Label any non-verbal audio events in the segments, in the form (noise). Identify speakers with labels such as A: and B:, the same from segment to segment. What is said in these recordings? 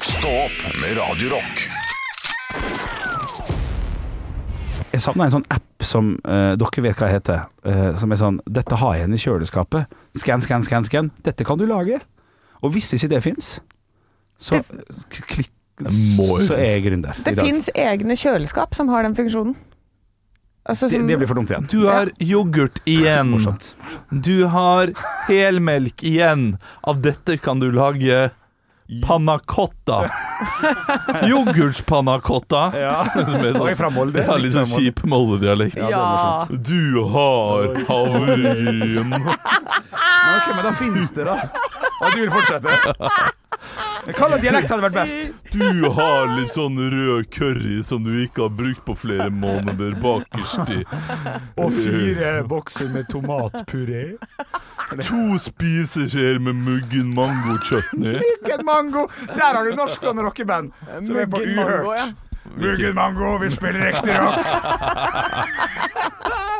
A: Stå opp med Radio Rock.
B: Jeg savna en sånn app som eh, dere vet hva heter. eh, som er sånn Dette har jeg igjen i kjøleskapet. Skann, skann, skann. skann Dette kan du lage. Og hvis ikke det fins, så k- klikk
C: må jo
B: Så er jeg gründer i
D: Det
B: dag.
D: fins egne kjøleskap som har den funksjonen. Altså,
B: Det,
D: som,
B: det blir for dumt igjen.
C: Du har yoghurt igjen.
B: Morsomt.
C: Du har helmelk igjen. Av dette kan du lage panna
B: (laughs)
C: cotta. Yoghurtspanna cotta.
B: Ja. (laughs)
C: Som er
B: Og
C: sånn-
B: jeg framholder det.
C: Jeg har litt sånn
B: Framholder.
C: kjip Molde-dialekt.
B: det er morsomt.
C: Du har havregryn.
B: (laughs) Men ok, men da finnes det, da. Og du vil fortsette. Men Hva slags dialekt hadde vært best?
C: Du har litt sånn rød curry som du ikke har brukt på flere måneder bakerst i.
B: Og bokser med tomatpuré.
C: To spiseskjeer med muggen mangochutney.
B: Muggen mango! Der har du norsk sånn rockeband som er på
D: Muggen mango, ja.
B: Uhørt. Muggen mango, vi spiller riktig rock! (laughs)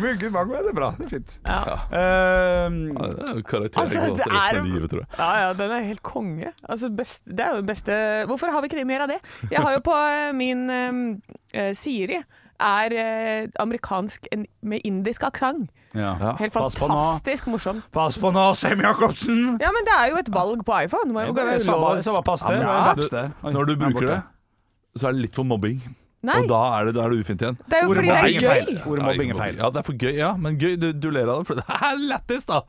B: Muggen mango, ja, det er bra. Det er fint. Ehm,
C: Ja, det er jo karakter
D: Altså,
C: jeg går
D: det
C: til resten
D: er-
C: av livet, tror jeg.
D: Ja, ja, den er helt konge. Altså, best, det er jo det beste Hvorfor har vi ikke det mer av det? Jeg har jo på eh, min eh, Siri er eh, amerikansk en, med indisk aksent.
B: ja.
D: Helt
B: Pass på nå.
D: fantastisk morsom.
B: Pass på nå, Sem Jacobsen!
D: Ja, men det er jo et valg på iPhone. Må jo gå
B: Det er Samme samme pass det. det er en veps der. Oi,
C: Når du
B: den er
C: bruker
B: borte.
C: det, så er det litt for mobbing.
D: Nei,
C: Og da er det, da er det ufint igjen.
D: det er jo
B: Ordet
D: fordi det
B: mobbing
D: er
B: feil.
D: gøy.
B: Ordet mobbing er feil.
C: Ja, det er for gøy, ja. Men gøy, du, du ler av det, for det er lættis, da!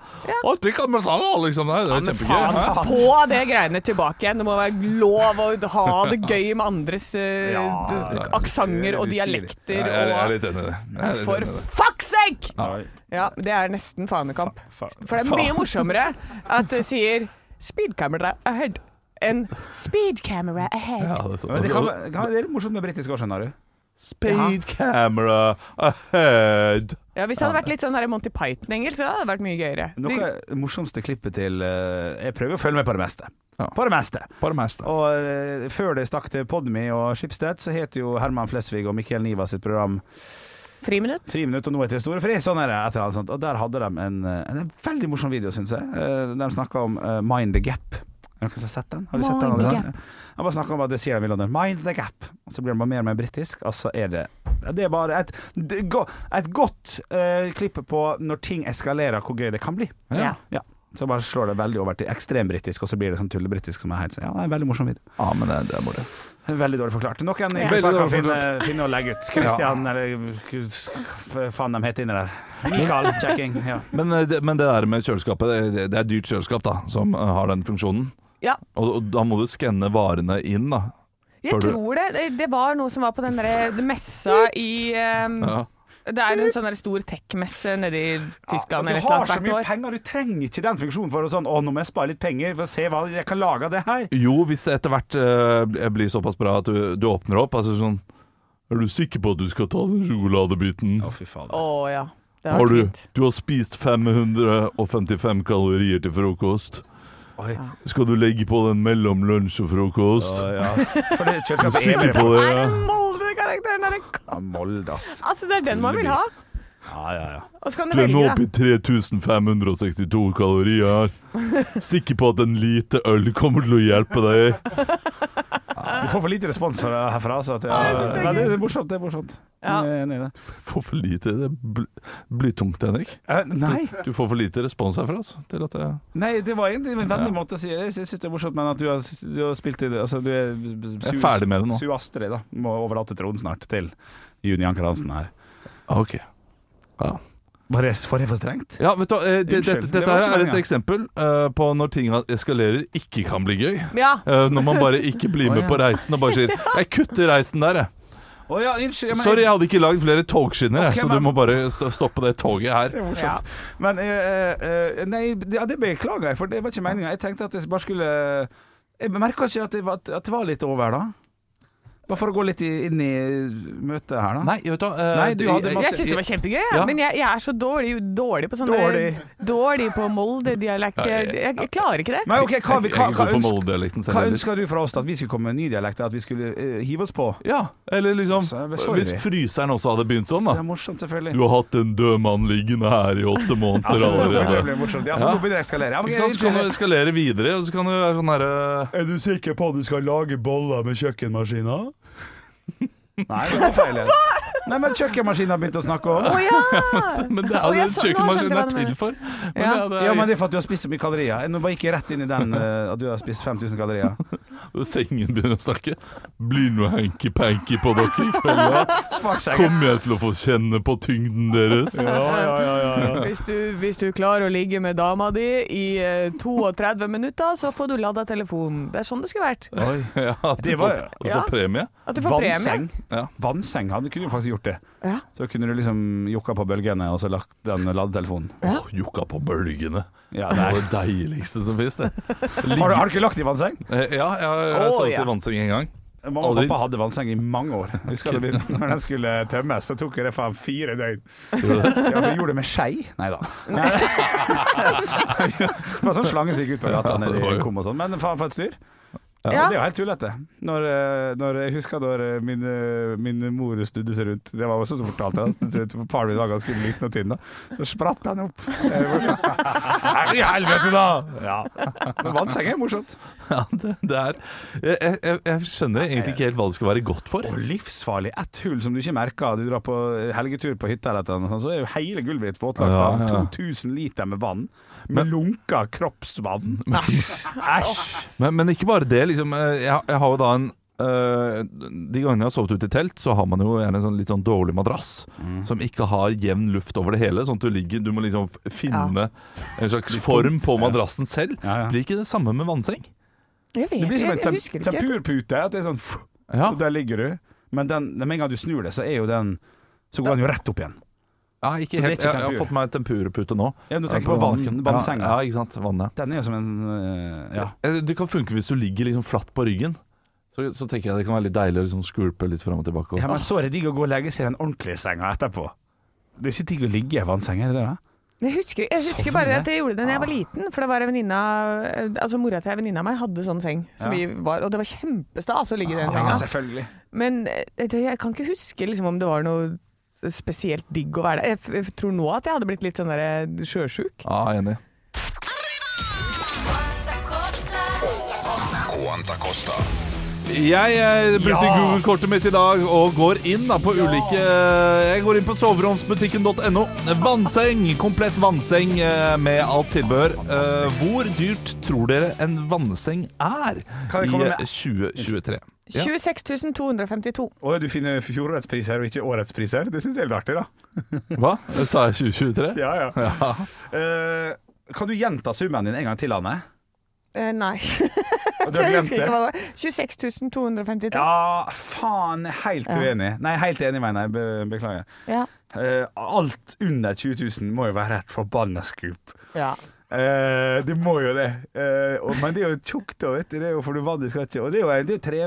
C: Og det kan man sammen, liksom. Nei, Det er kjempegøy. Hæ?
D: Få det greiene tilbake igjen. Det må være lov å ha det gøy med andres eh,
B: Ja,
D: d-
B: det-
D: aksenter og
B: det er det
D: dialekter
C: Jeg er, jeg er
D: og
C: litt enig i det. Jeg er litt
D: For
C: enig i det.
D: fuck's sake!
B: Nei.
D: Ja, det er nesten fanekamp.
B: Fa-
D: For det er mye morsommere at det sier 'speed camera ahead' enn 'speed camera
C: Ja,
D: ahead'.
C: det er
B: Men det,
C: sånn.
B: kan, det kan- det er litt morsomt med britisk òg, skjønner du.
C: Spade camera ahead.
D: Ja, hvis det hadde vært litt sånn her Monty Python-engelsk, så hadde det vært mye gøyere.
B: Noe
D: De-
B: av det morsomste klippet til eh, Jeg prøver å følge med på det meste.
C: Ja.
B: På det meste.
C: Bare mest, da.
B: Og eh, før det stakk til Podme og Schibsted, så het jo Herman Flesvig og Mikkel Niva sitt program
D: Friminutt?
B: Friminutt og nå er til store fri. Sånn er det. Et eller annet sånt. Og der hadde de en, eh, en veldig morsom video, syns jeg. Eh, Der de snakka om eh, Mind the Gap. Er det noen som har sett den? Har du sett den?
D: Mind the
B: Andreas? Han bare snakker om at det sier de i London. Mind the gap. Og så blir han bare mer og mer britisk, og så er det Det er bare et, det go- et godt eh, klipp på når ting eskalerer, hvor gøy det kan bli.
C: Ja.
B: Ja. Så bare slår det veldig over til ekstrembritisk, og så blir det sånn tullebritisk som er helt sånn. Ja, det er en veldig morsom video.
C: Ja, men det, det er moro.
B: Veldig dårlig forklart. Noen i
D: Ja.
B: gruppa
C: Veldig
B: kan
C: dårlig
B: finne, finne og legge ut. Christian, eller hva faen de heter inni der. Mikael
D: (laughs)
B: Kjekking. Ja.
C: Men, eh, det- men det der med kjøleskapet, det- det, det er dyrt kjøleskap da, som eh, har den funksjonen.
D: Ja.
C: Og, og da må du skanne varene inn, da. Har
D: Jeg
C: du-
D: tror det. det. Det var noe som var på den der eh, messa i ehm,
C: Ja.
D: Det er en sånn der stor tech-messe nede i Tyskland
B: Ja,
D: eller
B: du
D: et eller
B: har
D: annet
B: så mye
D: hvert år.
B: penger, du trenger ikke den funksjonen for å sånn Å, nå må jeg spare litt penger for å se hva jeg kan lage av det her.
C: Jo, hvis det etter hvert eh, bl- blir såpass bra at du, du åpner opp altså sånn, Er du sikker på at du skal ta den sjokoladebiten?
B: fy faen.
D: Å ja. Det
C: har
D: var
C: du,
D: fint.
C: du har spist 555 kalorier til frokost.
B: Oi.
C: Skal du legge på den mellom lunsj og frokost?
B: ja. For det kjøleskapet er
C: Sikker
B: bare
C: på det?
D: Er
C: Ja.
D: det Molde-karakteren? Er det k-
B: ja, Molde, ass.
D: Altså, det er den man vil ha.
B: Ja, ja, ja.
D: Og så kan du
C: Du er nå
D: velge,
C: oppe
D: da.
C: i 3562 kalorier. Sikker på at en lite øl kommer til å hjelpe deg.
B: Du får for lite respons fra, herfra, så at, ja,
D: Ja, jeg synes det er
B: men det,
D: gøy.
B: det er morsomt. Det er morsomt.
D: Ja.
B: Jeg er enig i det.
C: Får for lite. Det bl- blir tungt, Henrik.
B: Eh, nei.
C: Du får for lite respons herfra. Altså, til at jeg
B: nei, det var egentlig en vennlig måte å si det. Jeg syns det er morsomt, men at du har, du har spilt i det altså, Du er,
C: Jeg er ferdig med det nå.
B: Su Astrid, da. Må overlate tronen snart til Juni Anker Hansen her.
C: Ah, ok. Ja.
B: Var det for, for strengt?
C: Ja, vet du, hva, eh, det,
B: Unnskyld,
C: dette,
B: det
C: dette
B: var ikke så
C: her er
B: mange.
C: et eksempel eh, på når ting eskalerer, ikke kan bli gøy.
D: Ja.
C: Eh, når man bare ikke blir
B: Å,
C: med
B: ja.
C: på reisen og bare sier 'jeg kutter reisen der', jeg.
B: Å ja, unnskyld. men-
C: Sorry, jeg hadde ikke lagd flere togskinner,
B: Ok,
C: jeg, så du
B: men-
C: må bare st stoppe det toget her.
D: ja.
B: Men eh, eh, Nei, det, ja, det beklager jeg, for det var eh, ikke meninga. Jeg tenkte at jeg bare skulle Jeg merka ikke at det, var, at det var litt over, da. Bare for å gå litt i- inn i møtet her, da.
C: Nei, vet du hva eh,
B: Nei, du hadde masse-
D: Jeg syns det var kjempegøy, jeg.
C: Ja.
D: men jeg, jeg er så dårlig, dårlig på sånne
B: Dårlig.
D: dårlig på Molde-dialekt.
C: Ja,
D: Jeg,
C: jeg-
D: jeg, jeg klarer ikke det.
B: Men ok, hva,
C: Jeg er
B: vi-
C: ikke
B: hva, hva,
C: god på
B: ønsker,
C: Molde-dialekten selv
B: hva
C: heller.
B: ønsker du fra oss? At vi skulle komme med en ny dialekt? At vi skulle eh, hive oss på?
C: Ja, eller liksom
B: Så er det sorry.
C: Hvis fryseren også hadde begynt sånn,
B: Det er
C: da.
B: morsomt, selvfølgelig.
C: Du har hatt en død mann liggende her i åtte måneder
B: Absolutt, det
C: allerede.
B: blir morsomt. Ja,
C: Ja.
B: for nå begynner jeg å eskalere. Ja, men
C: Ikke sant? Så kan du eskalere videre, og så kan du være sånn herre
E: Er du sikker på at du skal lage boller med kjøkkenmaskina?
B: Nei, det var feil. Nei, men kjøkkenmaskinen har begynt å snakke
D: Å
B: om.
D: ja!
C: Men det er
D: Å,
C: jo
D: jeg så- nå skjønte
C: det
D: jeg
C: kjøkkenmaskinen
D: hva
C: er
D: du
C: til
D: mener.
C: for. Men
D: Ja.
C: ja, det er,
B: Ja, men det er for at du har spist så mye kalorier. Nå bare gikk jeg rett inn i
D: (laughs)
B: den eh, at du har spist 5000 kalorier.
C: Sengen begynner å snakke. Blir noe hanky-panky på
D: (laughs)
C: dere i kveld, da?
B: Smaksengen.
C: Kommer jeg til å få kjenne på tyngden deres?
E: Ja, ja, ja, ja, ja.
D: Hvis du, hvis du klarer å ligge med dama di i eh, 32 minutter, så får du lada telefonen. Det er sånn det skulle vært.
C: Ja, at du
B: Det
C: får,
B: var-
C: at du
D: Ja.
C: får premie?
D: At du får premie.
B: Vannseng.
C: Ja.
B: Vannseng. Han kunne jo faktisk gjort det.
D: Ja.
B: Så kunne du liksom jokka på bølgene og så lagt den ladetelefonen.
D: Ja.
C: Åh, jokka på bølgene.
B: Ja,
C: Det
B: nei.
C: er det deiligste som finnes, det.
B: Har, du, har du ikke lagt i vannseng?
C: (laughs) Eh, Ja, jeg, jeg
D: Åh,
C: sa det
D: ja.
C: til Vannseng en gang.
B: Mamma og
C: Aldri.
B: pappa hadde vannseng i mange (laughs) år. Jeg Husker det begynte- når den skulle tømmes, så tok jo det faen fire døgn. (laughs) Ja, for vi gjorde det med skei. Nei da. Det (laughs) var sånn slange som gikk ut på gata nede i kom og sånn. Men faen for et styr.
D: Ja.
B: Og Det er jo helt tullete. Når, eh, når jeg husker når eh, min, eh, min mor snudde seg rundt Det var også så fortalt jeg, snudde seg rundt, for Faren min var ganske liten og tynn, da. Så spratt han opp. (laughs) Her i helvete, da! Ja. Men vannseng er morsomt.
C: Ja, det, det er jeg, jeg, jeg skjønner egentlig ikke helt hva det skal være godt for.
B: Og livsfarlig. Ett hull som du ikke merker. Du drar på helgetur på hytta, eller et eller annet, så er jo hele gulvet ditt våtlagt
C: Ja,
B: av
C: ja.
B: 2000 liter med vann. Med lunka kroppsvann. Æsj!
C: Men, men ikke bare det. Liksom, eh, jeg, jeg har jo da en eh, De gangene jeg har sovet ute i telt, så har man jo gjerne en sånn, litt sånn dårlig madrass
B: Mm.
C: som ikke har jevn luft over det hele. Sånn at du ligger Du må liksom f- finne en slags form på madrassen selv.
B: Ja, ja.
C: Blir ikke det samme med vannseng?
D: Jeg vet
B: Det blir som en
D: jeg
B: tem
D: husker ikke.
B: tempurpute. At det er sånn fuh,
C: Ja.
B: og Der ligger du. Men den, den- med en gang du snur det, så er jo den Så går den jo rett opp igjen.
C: Ja, ikke
B: Så det er
C: helt.
B: ikke
C: Jeg, jeg har
B: tempur.
C: fått meg tempurpute nå.
B: Ja, du
C: Eh,
B: tenker på vann,
C: vannken.
B: vannsenga.
C: Ja, ja, ikke sant. Vannet.
B: Den er jo som en øh, Ja.
C: Eh, Det kan funke hvis du ligger liksom flatt på ryggen. Så, så tenker jeg det kan være litt deilig å liksom skvulpe litt fram og tilbake.
B: ja men så er det digg å gå og legge seg i den ordentlige senga etterpå. Det er ikke digg å ligge i vannseng, er det det? da?
D: Jeg husker, jeg husker
B: Sovne.
D: bare at jeg gjorde det da jeg var liten. For det var en venninne av- Altså mora til en venninne av meg hadde sånn seng. Som
B: Ja.
D: vi var, og det var kjempestas å ligge i den
B: Ja,
D: senga.
B: selvfølgelig.
D: Men eh, det, jeg kan ikke huske liksom, om det var noe spesielt digg å være der. Jeg, f- jeg tror nå at jeg hadde blitt litt sånn der sjøsjuk.
C: Ja, Ah, enig.
A: Quanta Costa.
C: Jeg, eh, brukte Google-kortet mitt i dag og går inn da, på ulike eh, Jeg går inn på soveromsbutikken.no. Vannseng. Komplett vannseng eh, med alt tilbehør. Eh, Hvor dyrt tror dere en vannseng er
B: Kan jeg
C: i
B: komme
C: eh,
B: med-
C: 2023? Ja.
D: 26 252.
B: Og du finner fjorårets priser og ikke årets priser. Det syns jeg er litt artig, da.
C: Hva? Sa jeg 2023?
B: Ja, ja.
C: Ja.
B: Eh, kan du gjenta summen din en gang til, Anne?
D: Eh, nei,
B: Og Du har
D: jeg
B: glemt
D: husker ikke
B: det.
D: hva det var. 26 253.
B: Ja, faen. Helt uenig. Nei, helt enig, mener jeg. Be beklager.
D: Ja.
B: Eh, alt under 20 000 må jo være et forbanna skup.
D: Ja.
B: Eh, det må jo det. Eh, og, men det er jo tjukt, da, vet du. Det er jo for du vannet skal ikke Og det er jo, det er jo tre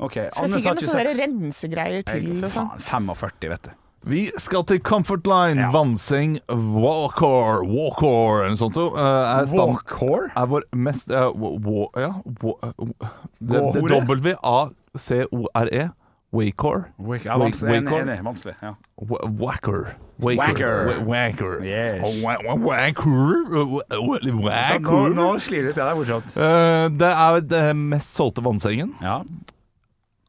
B: OK,
D: Skal
B: Anne sa
D: sikkert noen sånne
B: 26.
D: rensegreier til og sånn.
B: Faen, 45, vet du.
C: Vi skal til Comfort Line,
B: Ja.
C: Vannseng, Walker, Walker eller noe sånt. Uh, er, stand,
B: Walkcore?
C: er vår mest eh, wa- wa- Ja, wa- eh, det, det
B: Gåhore?
C: W-A-C-O-R-E. Wacor.
B: Wake, ja, vanskelig. Enig,
C: Wake-
B: enig, vanskelig. Ja.
C: Wa- Wacker. Waker.
B: Wacker.
C: Wa- Wacker.
B: Yes.
C: Oh, wa- wa- Wacker. Oh, Wa- wa-
B: Så nå,
C: Wacker.
B: nå slir det ut, ja. Det er morsomt.
C: Eh, Det er det mest solgte vannsengen.
B: Ja.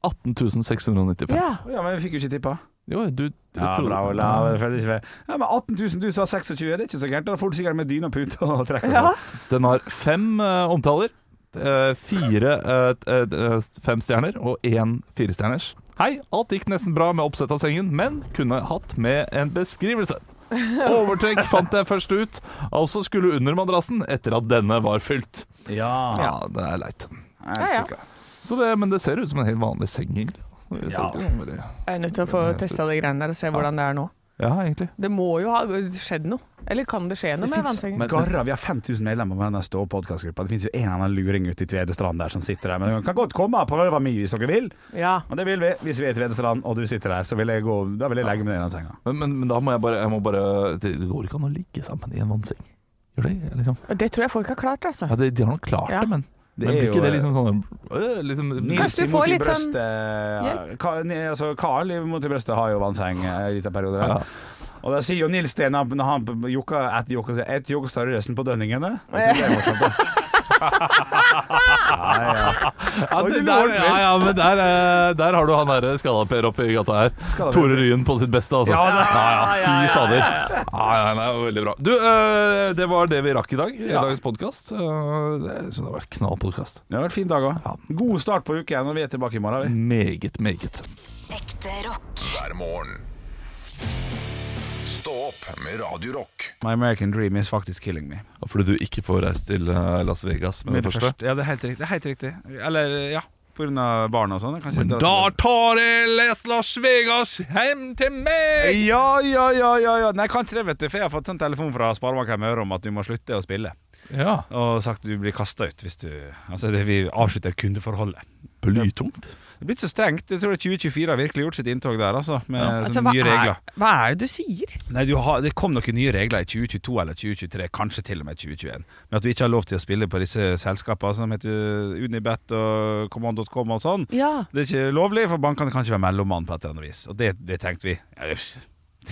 C: 18 695.
D: Ja.
B: ja, men vi fikk jo ikke tippa.
C: Jo, du, du
B: Ja,
C: trodde-
B: bra, Olav. Jeg følger ikke med. Ja, men 18 000, du sa 26, det er ikke så gærent. Da får du sikkert med dyne og pute og trekke.
D: ja.
C: Den har fem eh, omtaler. eh, fire eh, t- eh, eh, fem stjerner og én firestjerners. Hei, alt gikk nesten bra med oppsett av sengen, men kunne hatt med en beskrivelse. Overtrekk fant jeg først ut, altså skulle under madrassen etter at denne var fylt.
B: Ja.
C: Ja, det er leit.
B: Jeg
D: Ja, ja.
B: er sikker.
C: Så det, men det ser ut som en helt vanlig seng, egentlig. Det ser
B: Ja.
C: ikke noe veldig-
D: Jeg er nødt til å få testa de greiene der og se hvordan det er nå.
C: Ja, egentlig.
D: Det må jo ha skjedd noe. Eller kan det skje noe
B: Det
D: med
B: finnes-
D: vannsengen?
C: Men-
B: Garra, vi har 5000 medlemmer på denne stå podcastgruppa. Det finnes jo en eller annen luring ute i Tvedestrand der som sitter der. Men dere kan godt komme og prøve meg hvis dere vil.
D: Ja.
B: Og det vil vi. Hvis vi er i Tvedestrand og du sitter der, så vil jeg gå Da vil jeg legge meg ned i den senga.
C: Men, men, men da må jeg bare, jeg må bare Det det går ikke an å ligge sammen i en vannseng. Gjør det? liksom?
D: Og Det tror jeg folk har klart, altså.
C: Ja, de, de har nok klart
D: Ja.
C: det, men,
B: Det
C: men
B: er jo,
C: blir ikke det
B: eh,
C: liksom sånn øh, liksom,
B: Nils
D: Kanskje vi får
B: imot i
D: litt sånn
B: brøstet ja, Ka- ne- altså, Karl imot i brøstet har jo vannseng eh, en liten periode.
C: Ja.
B: der. Og da sier jo Nils det når han- når han jokker etter jokk og sier ett jokk større resten på dønningene. Jeg synes det er morsomt, da. Ja, ja.
C: Ja,
B: Oi,
C: det
B: det
C: der,
B: var
C: ja, ja, men der, eh, der har du han derre skalla-Per oppe i gata her.
B: Skalla-Per.
C: Tore Ryen på sitt beste, altså.
B: Ja, da.
C: ja, ja, fy fader. Ja, ja, nei, det var veldig bra. Du, eh, det var det vi rakk i dag. I
B: Ja.
C: dagens podkast. Jeg syns det har vært knall podkast.
B: Det har vært en fin dag òg.
C: Ja.
B: God start på uken, og vi er tilbake i morgen. vi.
C: Meget, meget.
F: Ekte rock.
A: hver morgen. Stå opp med Radio Rock.
B: My American Dream is faktisk killing me.
C: Fordi du ikke får reist til eh, Las Vegas med,
B: Med
C: det første.
B: Ja, det er helt riktig. Det er helt riktig. Eller, ja, på grunn av barn og sånn. kanskje
C: Men
B: det-
C: da tar jeg Les Las Vegas hjem til meg!
B: Ja, ja, ja, ja, ja. Nei, kanskje det, vet du. For jeg har fått sånn telefon fra Sparebanken Møre om at du må slutte å spille.
C: Ja,
B: Og sagt du blir kasta ut hvis du Altså, det, vi avslutter kundeforholdet.
C: Blytungt.
B: Det blir ikke så strengt. Jeg tror 2024 har virkelig gjort sitt inntog der, altså. Med
D: Altså,
B: sånne
D: hva,
B: nye regler.
D: er, hva er det du sier?
B: Nei, du har, Det kom noen nye regler i 2022 eller 2023, kanskje til og med 2021. Men at du ikke har lov til å spille på disse selskapene som heter Unibet og Command.com og sånn.
D: Ja.
B: Det er ikke lovlig, for bankene kan ikke være mellommann på et eller annet vis. Og det, det tenkte vi. Ja, det-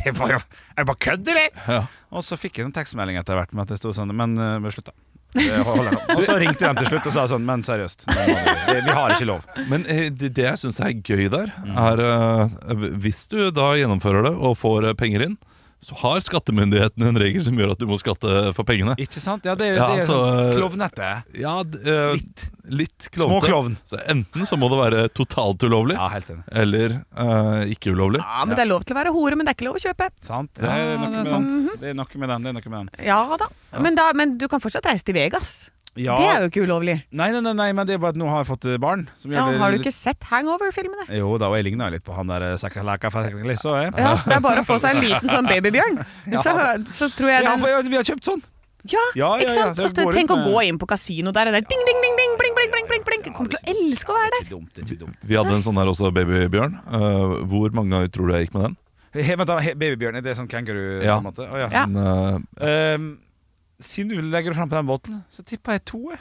B: Det var jo (laughs) Er det bare kødd, eller?
C: Ja.
B: Og så fikk jeg en tekstmelding etter hvert med at det sto sånn Men eh, vi slutta. Det holder nå. Og så ringte de til slutt og sa sånn Men seriøst, det må vi- det, vi har ikke lov.
C: Men eh, det, det jeg syns er gøy der, er eh, hvis du da gjennomfører det og får eh, penger inn, så har skattemyndigheten en regel som gjør at du må skatte for pengene.
B: Ikke sant? Ja, det, det er
C: Ja, altså,
B: sånn
C: eh,
B: klovnete.
C: Ja, d- eh,
B: Litt.
C: litt
B: Små
C: klovnete.
B: klovn.
C: Så enten så må det være totalt ulovlig,
B: Ja, helt enig.
C: eller eh, ikke ulovlig.
D: ja, men det er lov til å være hore, men det er ikke lov å kjøpe.
B: Sant? Det
C: Ja,
B: er noe
C: det er
B: med
C: sant.
B: den. Det er noe med den. Det er noe med den.
D: Ja da. Men, da men du kan fortsatt reise til Vegas.
B: Ja.
D: Det er jo ikke ulovlig.
B: Nei, nei, nei, nei, men det er bare at nå har jeg fått eh, barn. Som
D: Ja,
B: gjør det
D: har du
B: litt-
D: ikke sett Hangover-filmene?
B: (laughs) Jo da, og jeg ligner jo litt på han der eh, liksom, Sakalaka Fakalissa, jeg.
D: Ja, så Det er bare å få seg en liten sånn babybjørn. Så, så tror jeg
B: Ja,
D: den
B: for jeg- vi har kjøpt sånn!
D: Ja,
B: Ja, ja,
D: ikke
B: ja,
D: sant?
B: så jeg
D: At,
B: går ut
D: tenk å
B: med-
D: gå inn på kasino der, og det er ding, ding, ding, ding, bling, bling, bling, bling, bling. Kommer til å elske å være der.
B: Ikke dumt, det er ikke dumt.
C: Vi hadde en sånn her også, Babybjørn. Eh, hvor mange ganger tror du jeg gikk med den?
B: He, vent da, he, babybjørn, er det sånn kenguru?
C: Ja.
B: på en måte? Å, ja.
D: Ja.
C: En, eh,
B: Ehm, siden du legger det fram på den båten, så tipper jeg to. jeg.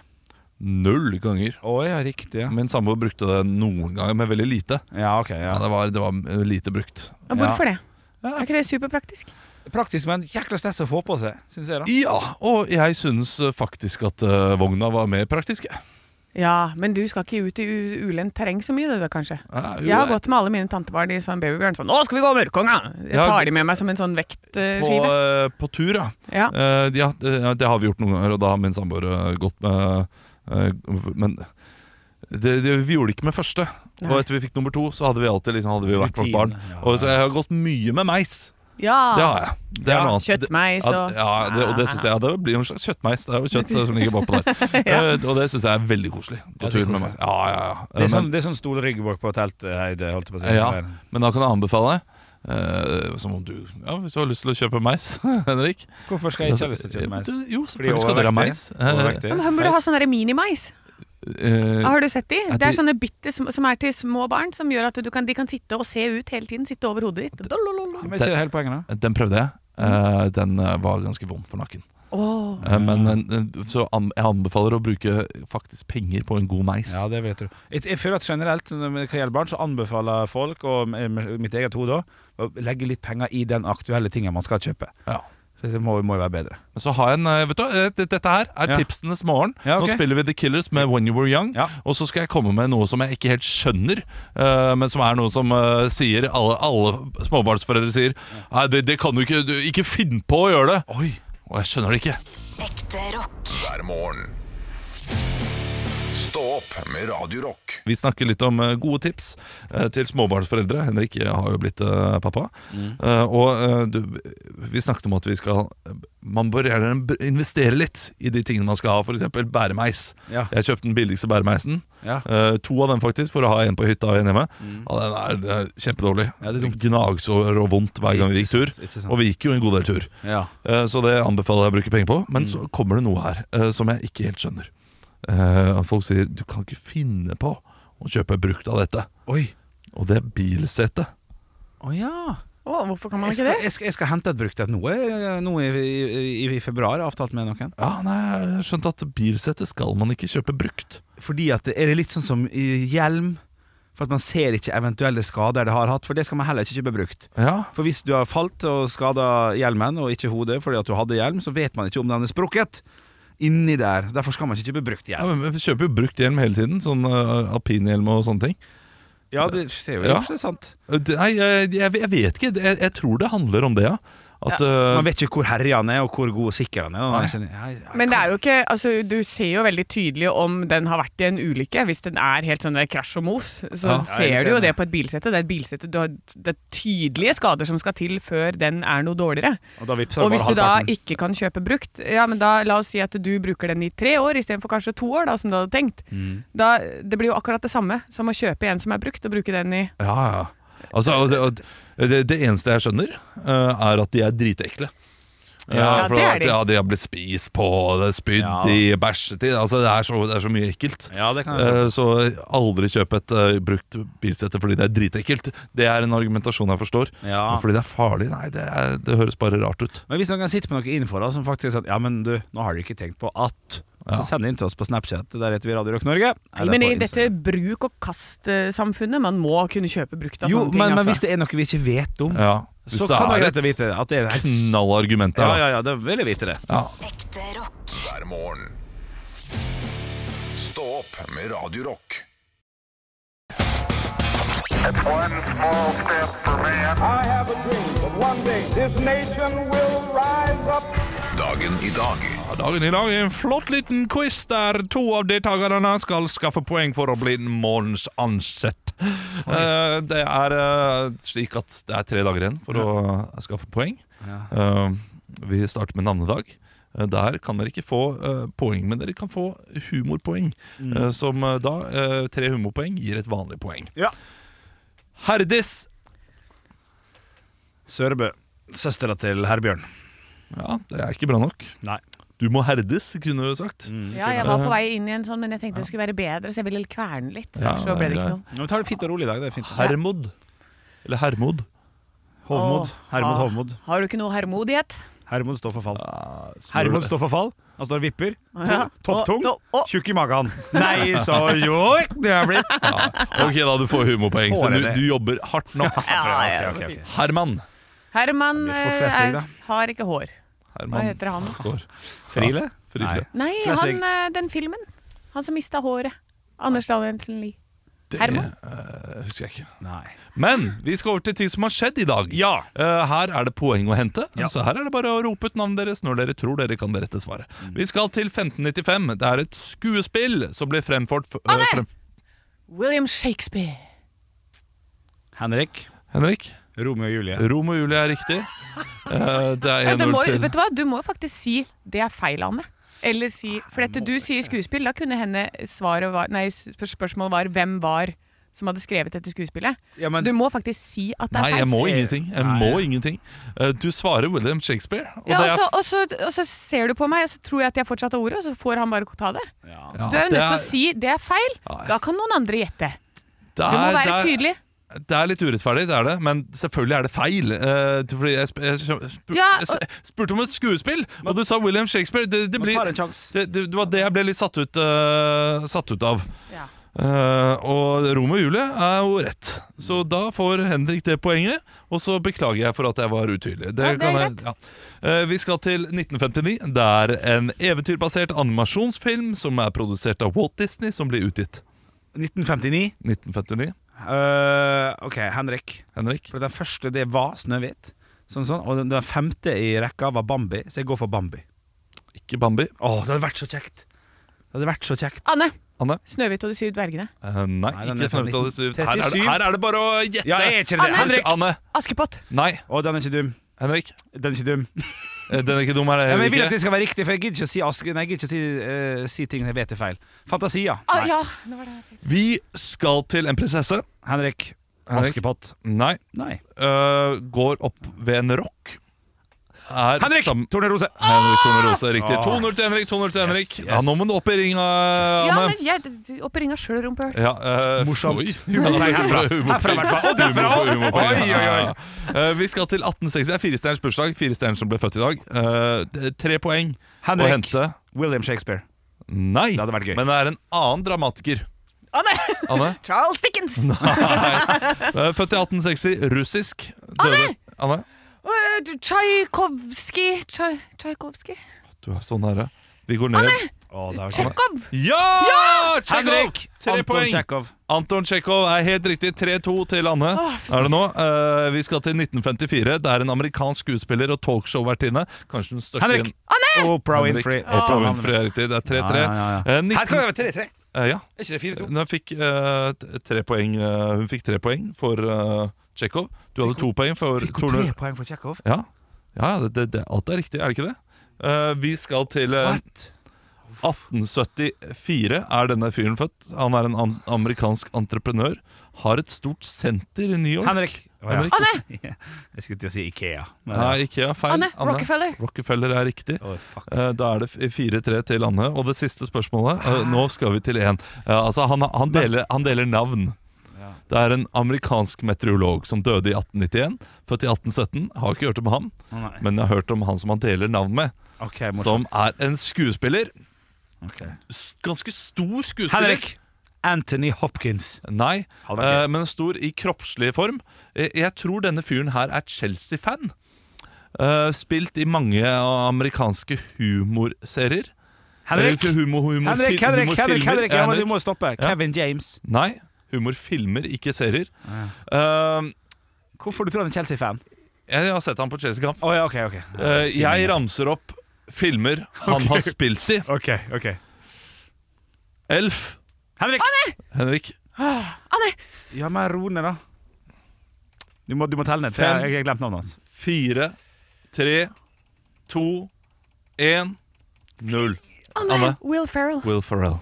C: null ganger.
B: Å ja, riktig. Ja,
C: Min samboer brukte det noen ganger, men veldig lite.
B: ja ok. Ja.
C: Ja, det, var, det var eh, lite brukt.
D: Og Hvorfor det? Er ikke det superpraktisk?
B: Praktisk, men jækla stress å få på seg, syns jeg, da.
C: Ja, og jeg syns eh, faktisk at eh, vogna var mer praktisk. jeg.
D: Ja, men du skal ikke ut i u- ulendt terreng så mye, du da, kanskje?
C: Ja, jo,
D: Jeg har
C: jeg-
D: gått med alle mine tantebarn i sånn babybjørn sånn 'Nå skal vi gå Mørkonga!' Jeg
C: Ja,
D: tar
C: det-
D: de med meg som en sånn
C: På,
D: vektskive.
C: eh, på tur, ja.
D: Ja.
C: Eh, ja, det, ja, det har vi gjort noen ganger, og da har min samboer eh, gått med eh, Men det, det, vi gjorde det ikke med første.
D: Nei.
C: Og etter vi fikk nummer to, så hadde vi alltid liksom, hadde vi vært vårt barn.
B: Rutine, ja.
C: Og så jeg har gått mye med meis. Det
D: Ah. Ja.
C: har jeg. Det er
B: Ja,
C: noe annet. Det-
D: Kjøttmeis
C: ja,
D: og
C: ja, det, og det synes jeg ja, Det blir jo en slags kjøttmeis. Det er jo kjøtt eh, som ligger bakpå der.
D: (laughs)
C: Eh, og det syns jeg er veldig koselig. Gå
B: det er
C: tur med
B: koselig.
C: meis. Ja, ja, ja.
B: Det er
C: Eh,
B: sånn, det er sånn stolrygg bak på telthøyde, holdt jeg på å si.
C: Ja. Men da kan jeg anbefale eh, Som om du ja, Hvis du har lyst til å kjøpe mais, (laughs) Henrik
B: Hvorfor skal jeg ikke ha lyst til å kjøpe meis?
C: Du-
B: Fordi jeg
C: Jo, selvfølgelig skal dere ha
B: overvektig.
C: mais
B: Overvektig.
D: Men han burde ha sånn derre minimais.
C: Eh,
D: Har du sett de? Det er
C: de-
D: sånne bitte sm- som er til små barn, som gjør at du kan, de kan sitte og se ut hele tiden. Sitte over hodet ditt. Dalololo.
B: Men er ikke det hele poenget, da?
C: eh, Den prøvde jeg Eh, Den eh, var ganske vond for nakken
D: Åh.
C: Eh, Men eh, så an, jeg anbefaler å bruke faktisk penger på en god meis
B: Ja, det vet du. Jeg, jeg føler at generelt når det gjelder barn, så anbefaler folk, og med- med mitt eget hode òg, å legge litt penger i den aktuelle tingen man skal kjøpe.
C: Ja.
B: Så det må, må jo være bedre.
C: Men så har jeg en eh, Vet du, hva, eh, det- dette her er
B: Ja.
C: tipsenes morgen
B: Ja, ok.
C: Nå spiller vi The Killers med When You Were Young
B: Ja.
C: Og så skal jeg komme med noe som jeg ikke helt skjønner eh, Men som er noe som eh, sier Alle, alle småbarnsforeldre sier Nei, det, det kan du ikke du, Ikke finn på å gjøre det Oi Og jeg skjønner det ikke
F: Ekte rock.
A: hver morgen. Stå opp med Radio Rock.
C: Vi snakker litt om eh, gode tips eh, til småbarnsforeldre. Henrik eh, har jo blitt eh, pappa.
B: Mm.
C: Eh, og eh, du, vi snakket om at vi skal Man bør gjerne b- investere litt i de tingene man skal ha, f.eks. bæremeis.
B: Ja.
C: Jeg kjøpte den billigste bæremeisen.
B: Ja.
C: Eh, to av dem faktisk, for å ha en på hytta og en hjemme. Ja, den er, den er kjempedårlig.
B: Mm. Ja, det er dumt.
C: Gnagsår og vondt hver gang vi gikk tur.
B: Ikke sant.
C: Og vi gikk jo en god del tur.
B: Ja.
C: Eh, Så det anbefaler jeg å bruke penger på.
B: Mm.
C: Men så kommer det noe her eh, som jeg ikke helt skjønner. Eh, Folk sier du kan ikke finne på å kjøpe brukt av dette.
B: Oi.
C: Og det er bilsete.
B: Å ja.
D: Å, hvorfor kan man
B: Jeg
D: ikke
B: skal,
D: det?
B: jeg, skal, jeg skal hente et brukt et noe, noe i, i, i- i februar, avtalt med noen.
C: Ja, nei, jeg har skjønt at bilsete skal man ikke kjøpe brukt.
B: Fordi at Er det litt sånn som i hjelm? For at man ser ikke eventuelle skader det har hatt, for det skal man heller ikke kjøpe brukt.
C: Ja,
B: For hvis du har falt og skada hjelmen, og ikke hodet fordi at du hadde hjelm, så vet man ikke om den er sprukket inni der. Derfor skal man ikke kjøpe brukt
C: ja
B: hjelm.
C: men Vi kjøper jo brukt hjelm hele tiden. Sånn eh, alpinhjelm og sånne ting.
B: Ja, det ser jo ja.
C: Ja.
B: ikke sant.
C: Eh, det- Nei, jeg, jeg, jeg vet ikke. Jeg, jeg tror det handler om det, ja. At, eh,
B: Man vet ikke hvor herja han er, og hvor god og sikker han er. da. Man kjenner, ja, ja,
D: Men det
B: kan-
D: er jo ikke, altså Du ser jo veldig tydelig om den har vært i en ulykke. Hvis den er helt sånn der krasj og mos, så
C: Ja,
B: jeg er
D: ser
B: litt
D: du jo
B: enig.
D: det på et bilsette. Det er et bilsette, du har, det er tydelige skader som skal til før den er noe dårligere.
B: Og da vipser
D: Og
B: det
D: hvis
B: bare
D: du da
B: halvparten.
D: ikke kan kjøpe brukt, ja, men da la oss si at du bruker den i tre år istedenfor kanskje to år, da, som du hadde tenkt.
B: Mm.
D: Da, det blir jo akkurat det samme som å kjøpe en som er brukt, og bruke den i
C: ja, ja. Altså, og det, og det, det eneste jeg skjønner, eh, er at de er dritekle. Eh,
D: Ja,
C: for
D: det
C: har
D: er
C: vært-
D: de.
C: Ja, de har blitt spist på, det er spydd
B: Ja.
C: i, bæsjet i altså, det, er så, det er så mye ekkelt.
B: Ja, det kan jeg tro.
C: Eh, Så aldri kjøp et eh, brukt bilsette fordi det er dritekkelt. Det er en argumentasjon jeg forstår.
B: Ja.
C: Men Eh, Fordi det er farlig? Nei, det, er, det høres bare rart ut.
B: Men hvis noen sitter med noe innenfor da, som faktisk sier at Ja, men du, nå har du ikke tenkt på at
C: Ja.
B: Så send det inn til oss på Snapchat. Der heter vi Radio Rock Norge.
D: Nei,
B: Eller
D: men
B: på
D: i dette
B: Instagram.
D: bruk-og-kast-samfunnet, eh, man må kunne kjøpe brukt av
B: Jo,
D: sånne ting.
B: men, men
D: altså.
B: hvis det er noe vi ikke vet om,
C: Ja. Hvis
B: så
C: det
B: kan det
C: er
B: være greit å
C: et
B: vite at det er helt
C: knallargument
B: Ja,
C: der, da.
B: ja, ja, da vil jeg vite det.
F: Ekte rock.
A: hver morgen. Stå opp med Radio Rock.
G: I have a dream that one day this nation will rise up.
A: Dagen i dag
C: Ja, Dagen i dag er en flott liten quiz der to av deltakerne skal skaffe poeng for å bli morgens ansett. Eh, det er eh, slik at det er tre dager igjen for å eh, skaffe poeng. Eh, vi starter med navnedag. Eh, Der kan dere ikke få eh, poeng, men dere kan få humorpoeng. eh, som eh, da eh, Tre humorpoeng gir et vanlig poeng.
B: Ja.
C: Herdis!
B: Sørebø. Søstera til Herbjørn.
C: Ja, det er ikke bra nok.
B: Nei.
C: Du må herdes, kunne du sagt.
D: Ja, jeg var på vei inn i en sånn, men jeg tenkte det skulle være bedre, så jeg ville kverne litt.
C: Ja,
D: så ble det ikke noe.
B: Men vi tar det fint og rolig i dag. Det er fint.
C: Hermod. Eller Hermod.
B: Hovmod.
D: Åh.
B: Hermod
D: Ah.
B: Hovmod.
D: Har du ikke noe hermodighet?
B: Hermod står for fall.
C: Smør-
B: Hermod står for fall. Han står og vipper.
D: Ja.
B: Topptung.
D: Å, å, å.
B: Tjukk i magen. Nei, så jo det har blitt.
C: Ok, da du får humorpoeng. Så
B: Får jeg
C: du,
B: det?
C: du jobber hardt nå.
D: Ja,
B: Ok, ok, ok.
C: Herman.
D: Herman
B: Det blir for
D: eh,
B: flesig,
D: er,
B: da.
D: har ikke hår.
C: Herman.
D: Hva heter han?
C: Går.
B: Friele?
C: Friele.
D: Nei,
B: Flesig.
D: han, eh, den filmen. Han som mista håret. Anders Danielsen Lie.
C: Det
D: Herman?
C: eh, husker jeg ikke.
B: Nei. Nei.
C: Men vi skal over til ting som har skjedd i dag.
B: Ja.
C: Eh, her er det poeng å hente.
B: Ja.
C: Så her er det bare å rope ut navnet deres når dere tror dere kan det rette svaret.
B: Mm.
C: Vi skal til 1595. Det er et skuespill som blir fremført eh,
D: Anne!
C: frem
D: William Shakespeare.
B: Henrik.
C: Henrik.
B: Romeo og Julie.
C: Rom og Julie er riktig. Eh, det er
D: Ja, du,
C: 1-0
D: må,
C: til
D: vet du, hva? du må faktisk si 'det er feil, Anne'. Eller si For dette du sier skuespill, da kunne henne svaret var, nei, sp- spørsmålet var 'hvem var' som hadde skrevet dette skuespillet.
B: Ja, men-
D: Så du må faktisk si at det er
C: Nei, jeg
D: feil.
C: må ingenting. Jeg
B: Nei.
C: må ingenting. Eh, Du svarer William Shakespeare. Og
D: Ja, altså,
C: det er-
D: og, så, og, så, og så ser du på meg, og så tror jeg at jeg fortsatt har ordet, og så får han bare ta det.
C: Ja,
D: Du er jo
C: det
D: nødt til å si 'det er feil'. Da kan noen andre gjette.
C: det
D: Du må
C: er-
D: være
C: det er-
D: tydelig.
C: Det er litt urettferdig, det er det, men selvfølgelig er det feil. eh, fordi jeg, sp jeg, sp
D: Ja,
C: jeg s- spurte om et skuespill, og du sa William Shakespeare. Det, det,
B: Man
C: blir,
B: tar en sjanse.
C: det, det, det var det jeg ble litt satt ut, eh, satt ut av.
D: Ja.
C: Eh, og Romeo og Julie er jo rett, så
D: Mm.
C: da får Henrik det poenget. Og så beklager jeg for at jeg var utydelig. Det
D: Ja, det er
C: kan jeg- ja. Eh, vi skal til 1959. Det er en eventyrbasert animasjonsfilm som er produsert av Walt Disney, som blir utgitt
B: 1959.
C: 1959.
B: Eh, OK, Henrik.
C: Henrik?
B: For den første det var Snøhvit. Sånn, sånn. Og den, den femte i rekka var Bambi, så jeg går for Bambi.
C: Ikke Bambi.
B: Å, det hadde vært så kjekt! Det hadde vært så kjekt.
D: Anne,
C: Anne?
D: 'Snøhvit og de syv dvergene'.
C: Eh, nei,
B: Nei, den er
C: ikke
B: fra
C: Snøhvit og de syv.
B: 1937.
C: Her, er det- her er det bare å gjette!
B: Ja, jeg er ikke det.
C: Henrik!
B: Henrik!
C: Anne!
D: Askepott!
C: Nei,
B: Å, den er ikke dum.
C: Henrik.
B: Den er ikke dum.
C: Eh, Den er ikke dum, er det
B: Ja, men jeg vil
C: Henrik?
B: at det skal være riktig, for jeg gidder ikke å si, aske, nei, jeg gidder ikke å si, eh, si ting jeg vet er feil. Fantasia.
D: Ah,
B: Nei.
D: ja, nå var det jeg tenkte.
C: Vi skal til en prinsesse.
B: Henrik.
C: Henrik?
B: Askepott.
C: Nei.
B: Nei.
C: Eh, går opp ved en rock. Er
B: Henrik
C: sam-
B: Tornerose.
C: Henrik Tornerose, riktig.
B: Ah!
C: 2-0 til Henrik. 2-0 til
B: Yes,
C: Henrik.
B: yes.
C: Ja, nå må du opp i ringa,
F: Ja,
C: Anne.
F: men jeg opp i ringa sjøl, rumpehøl.
C: Ja, eh,
B: Morsomt.
C: oi.
B: Nei, herfra.
C: Humor-
B: Herfra, i hvert fall. Og derfra
C: humor-
B: også.
C: humor på ringa.
B: Oi, oi, oi.
C: Eh, Vi skal til 1860. Det er firestjerners bursdag. Firestjerner som ble født i dag. Eh, det er Tre poeng å
B: Henrik.
C: hente.
B: William Shakespeare.
C: Nei,
B: Det hadde vært gøy.
C: men det er en annen dramatiker.
D: Anne!
C: Anne?
D: (laughs)
B: (laughs)
D: Charles Dickens!
C: Eh, Født i 1860. Russisk. Døde. Anne?
F: Øh, Tsjajkovskij Tsjaj- Tsjajkovskij
C: Du er så nære. Vi går ned.
F: Tsjekkov!
C: Ja! Tsjekhov!
B: Henrik.
C: Tre
B: Anton
C: poeng.
B: Tsjekhov.
C: Anton Tsjekhov er helt riktig. 3-2 til Anne. er det nå? Eh, vi skal til 1954. Det er en amerikansk skuespiller og talkshow-vertinne. Kanskje den største
B: Henrik. Oh, Oprah Winfrey.
C: Henrik Oprah Winfrey er riktig. Det er 3-3.
B: Ja, ja, ja.
C: Eh, 19
B: Her kan det være 3-3.
C: Eh, ja.
B: Er ikke det 4-2?
C: Hun fikk, eh, t- tre poeng, eh, hun fikk tre poeng for uh, Tsjekhov. Du hadde to poeng for
B: Fikk hun
C: Torner.
B: tre poeng for Tsjekhov?
C: Ja, ja det, det, det, alt er riktig, er det ikke det? Eh, vi skal til eh,
B: What?
C: 1874 er denne fyren født. Han er en an amerikansk entreprenør. Har et stort senter i New York.
B: Henrik. (laughs)
C: Henrik.
B: Anne! Jeg skulle til å si Ikea. men-
C: Nei, Ikea, feil.
F: Anne, Rockefeller.
C: Rockefeller er riktig.
B: Å, fuck.
C: Eh, Da er det f- 4-3 til Anne. Og det siste spørsmålet eh, Nå skal vi til én. Altså, han, han, deler, han deler navn. Det er en amerikansk meteorolog som døde i 1891. Født i 1817. Har ikke hørt om ham,
B: Å, nei.
C: men jeg har hørt om han som han deler navn med.
B: Ok,
C: Som
B: morsomt.
C: er en skuespiller.
B: Ok.
C: S- Ganske stor skuespiller.
B: Henrik. Anthony Hopkins.
C: Nei,
B: Hadde vært gøy.
C: eh, men stor i kroppslig form. Eh, Jeg tror denne fyren her er Chelsea-fan. Eh, spilt i mange amerikanske humorserier.
B: Henrik.
C: Eller ikke humor, humor,
B: Henrik,
C: fil-
B: Henrik,
C: humorfilmer.
B: Henrik, Henrik, ja,
C: Eh,
B: men du må stoppe.
C: Ja.
B: Kevin James.
C: Nei, humorfilmer, ikke serier. Eh,
B: Hvorfor du tror han er Chelsea-fan?
C: jeg har sett ham på Chelsea-kamp.
B: Å ja, ok, ok.
C: Eh, jeg ramser opp filmer han har spilt i.
B: Ok, ok.
C: Elf.
B: Henrik!
C: Henrik.
B: Ja, men ro ned, da. Du må, du må telle ned. for
C: Fem.
B: Jeg, jeg har glemt navnet hans.
C: Fire, tre, to, én, null. Anne.
D: Will Ferrell.
C: Will Ferrell.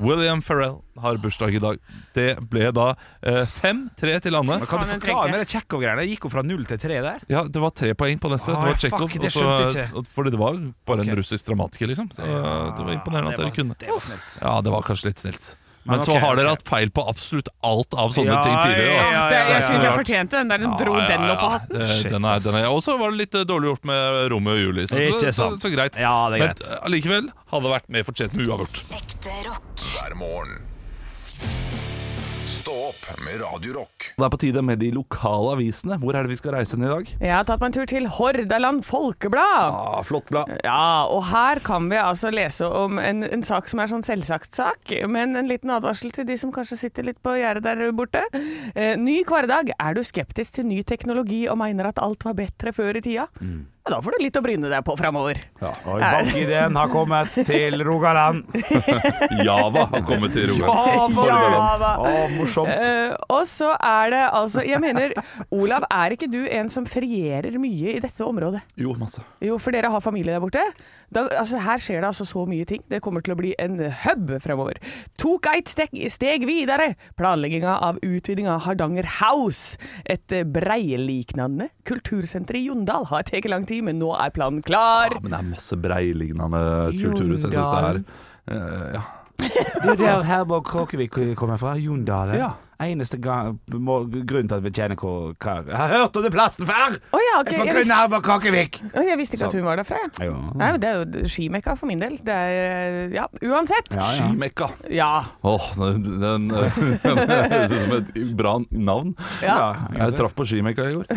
C: William Ferrell har bursdag i dag. Det ble da eh, 5-3 til Anne.
B: Men kan du
D: Faen, jeg
B: forklare
D: trenger.
B: med det Tsjekhov-greiene? Gikk hun fra null til tre der?
C: Ja, Det var tre poeng på neste.
B: Ah,
C: det var Tsjekhov.
B: fuck, det
C: og så-
B: skjønte jeg ikke.
C: og- Fordi det var bare
B: Ok.
C: en russisk dramatiker, liksom. Så eh, det var imponerende at dere kunne.
B: Det var snilt.
C: Ja, det var kanskje litt snilt. Men,
B: Men
C: så
B: ok,
C: har dere
B: ok.
C: hatt feil på absolutt alt av sånne
B: Ja,
C: ting tidligere. da.
B: ja, ja,
D: Det,
B: ja,
D: jeg
B: ja,
D: syns
B: ja.
D: jeg fortjente den der. Den dro
C: Ja, ja,
D: den
C: ja,
D: opp av hatten.
C: det-
B: Shit,
C: Den er, den er.
B: ass.
C: Og så var det litt eh, dårlig gjort med Romeo og Julie. sant?
B: Ikke
C: Så-
B: sant.
C: Så, så greit.
B: Ja, det er greit.
C: Men eh, allikevel hadde det vært mer fortjent med uavgjort.
H: Ekte rock.
A: hver morgen. Stå opp med Radio Rock.
C: Det er på tide med de lokale avisene. Hvor er det vi skal reise ned i dag?
D: Jeg har tatt meg en tur til Hordaland Folkeblad.
C: Ah, flott blad.
D: Ja, og her kan vi altså lese om en, en sak som er sånn selvsagt sak, men en liten advarsel til de som kanskje sitter litt på gjerdet der borte. Eh, ny hverdag. Er du skeptisk til ny teknologi og mener at alt var bedre før i tida?
C: Mm.
D: Ja, da får du litt å bryne deg på framover.
B: Oi, Bankideen har kommet til Rogaland.
C: Java har kommet til Rogaland.
D: Java.
B: Å, morsomt.
D: Eh, og så er det altså Jeg mener, Olav, er ikke du en som ferierer mye i dette området?
C: Jo, altså, masse.
D: Jo, for dere har familie der borte. Da, altså, her skjer det altså så mye ting. Det kommer til å bli en hub fremover. Tok eit steg, steg videre! Planlegginga av utvidinga av Hardanger House, et eh, breiliknande kultursenter i Jondal, har tatt lang tid, men nå er planen klar.
C: men det er masse breilignende kulturhus. Jeg syns det er
B: Jondalen.
C: Eh, ja.
B: (laughs) Det er der Herborg Kråkevik kommer fra. Jondalen.
C: Ja.
B: Eneste gang, må, grunn til at vi kjenner hvor hva- Jeg har hørt om den plassen før!
D: Å ja, ok.
B: Det var
D: Jeg
B: kun
D: visste,
B: Herborg Kråkevik.
D: Å, jeg visste ikke at hun var derfra, jeg.
B: Jo.
D: Nei, men det er jo skimekka for min del. Det er eh, Ja, uansett.
B: Ja, ja.
C: Skimekka.
D: Ja.
C: Åh, den, den, (laughs) den høres ut som et bra navn.
D: ja.
C: Jeg traff på Skimekka i går.
D: (laughs)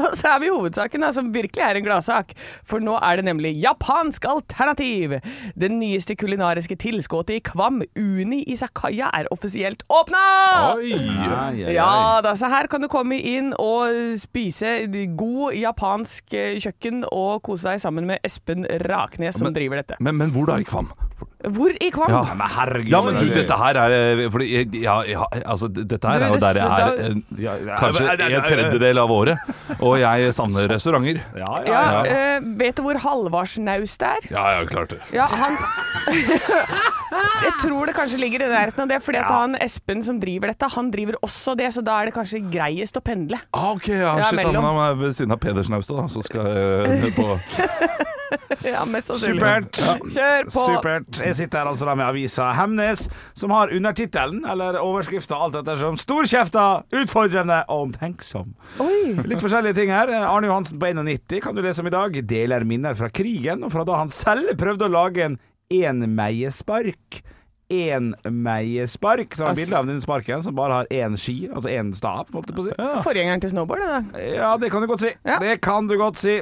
D: Og så er vi i hovedsaken, da, som virkelig er en gladsak. For nå er det nemlig japansk alternativ! Det nyeste kulinariske tilskuddet i Kvam, Uni Isakaya, er offisielt åpna! Ja da, så her kan du komme inn og spise god japansk eh, kjøkken og kose deg sammen med Espen Raknes, som
C: Men-
D: driver dette.
C: Men, men hvor da i Kvam? For-
D: Hvor i Kvam?
C: Ja, men herregud.
B: Ja, men
C: du,
B: du-
C: dette her er eh, fordi, jeg- ja, ja, altså, d- Dette
D: Du,
C: her er jo
D: det-
C: der jeg er
D: da-
C: eh, kanskje en tredjedel av året. Og jeg (laughs) savner restauranter. Ja,
D: Ja, eh, vet du hvor Halvarsen Naust er?
C: ja, ja klart det.
D: Ja, han (laughs) Jeg tror det kanskje ligger i nærheten av det, fordi at han Espen som driver dette, han driver også det, så da er det kanskje greiest å pendle. (laughs)
C: Ah, ok, ja,
D: Ja,
C: shit,
D: mellom.
C: han er ved siden av Pedersen Austad, da, så skal jeg eh, på
D: Ja, mest sannsynlig.
B: Supert.
D: Kjør på.
B: Supert. Jeg sitter her altså da med avisa Hemnes, som har undertittelen, eller overskrifta, alt ettersom, 'Storkjefta, utfordrende og omtenksom'.
D: Oi.
B: Litt forskjellige ting her. Arne Johansen på 91 kan du lese om i dag. Deler minner fra krigen, og fra da han selv prøvde å lage en enmeiespark. Enmeiespark. Så har han
D: Ass.
B: bilde av den sparken som bare har én ski, altså én stav, holdt jeg på å si.
D: Forgjengeren til snowboard, da.
B: Ja, det kan du godt si.
D: Ja.
B: Det kan du godt si.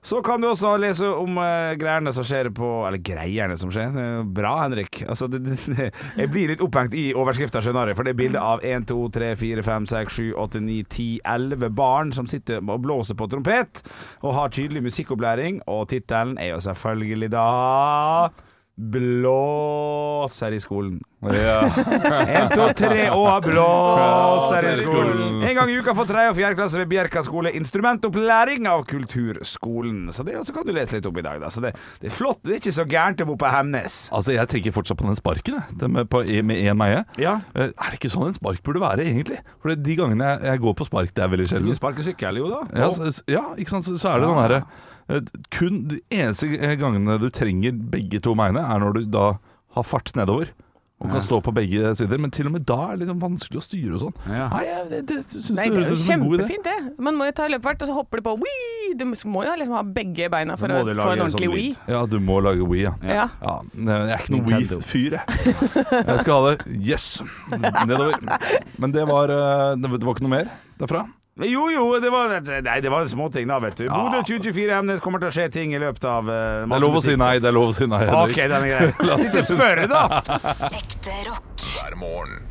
B: Så kan du også lese om eh, greiene som skjer på Eller greiene som skjer. Eh, Bra, Henrik. Altså, det, det, jeg blir litt opphengt i overskrifta, skjønner du. For det er bilde av 1, 2, 3, 4, 5, 6, 7, 8, 9, 10, 11 barn som sitter og blåser på trompet og har tydelig musikkopplæring. Og tittelen er jo selvfølgelig da Blåser i skolen. En, to, tre og blås her i skolen. En gang i uka for tredje og fjerde klasse ved Bjerka skole instrumentopplæring av Kulturskolen. Så det også kan du lese litt om i dag. Da. Så det, det er flott. Det er ikke så gærent å bo på Hemnes.
C: Altså, jeg tenker fortsatt på den sparken, jeg. Den med, på, med én meie.
B: Ja.
C: Eh, Er det ikke sånn en spark burde være, egentlig? For de gangene jeg, jeg går på spark, det er veldig
B: Du
C: sjelden.
B: sparkesykkel, jo da.
C: Ja, så, så- ja ikke sant? Så, så er det den derre eh, Kun de eneste gangene du trenger begge to meiene, er når du da har fart nedover. Og kan stå på begge sider, men til og med da er det liksom vanskelig å styre og sånn.
B: Ja.
C: Nei, jeg, det, det syns
D: Nei, det er
C: jeg
D: jo
C: høres ut som en god idé.
D: kjempefint, det. Man må jo ta løpefart, og så hopper du på wii. Du må jo liksom ha begge beina for
B: Så må
D: å
B: du
D: få
B: lage
D: en
B: en sånn
D: ordentlig wii.
C: Ja, du må lage Wii, ja.
D: Ja.
C: ja nei, jeg er ikke noen
B: Nintendo.
C: Wii-fyr, jeg. Jeg skal ha det yes! nedover. Men det var, eh, det var ikke noe mer derfra.
B: Jo, jo, det var, nei, det var en småting da, vet du. Bodø 2024 Hemnes kommer til å skje ting i løpet av eh,
C: Det er lov å si nei, det er lov å si nei.
B: Ok,
C: Henrik.
B: den er
C: (laughs)
B: grei. Sitt og spørre, da!
H: Ekte rock.
A: hver morgen.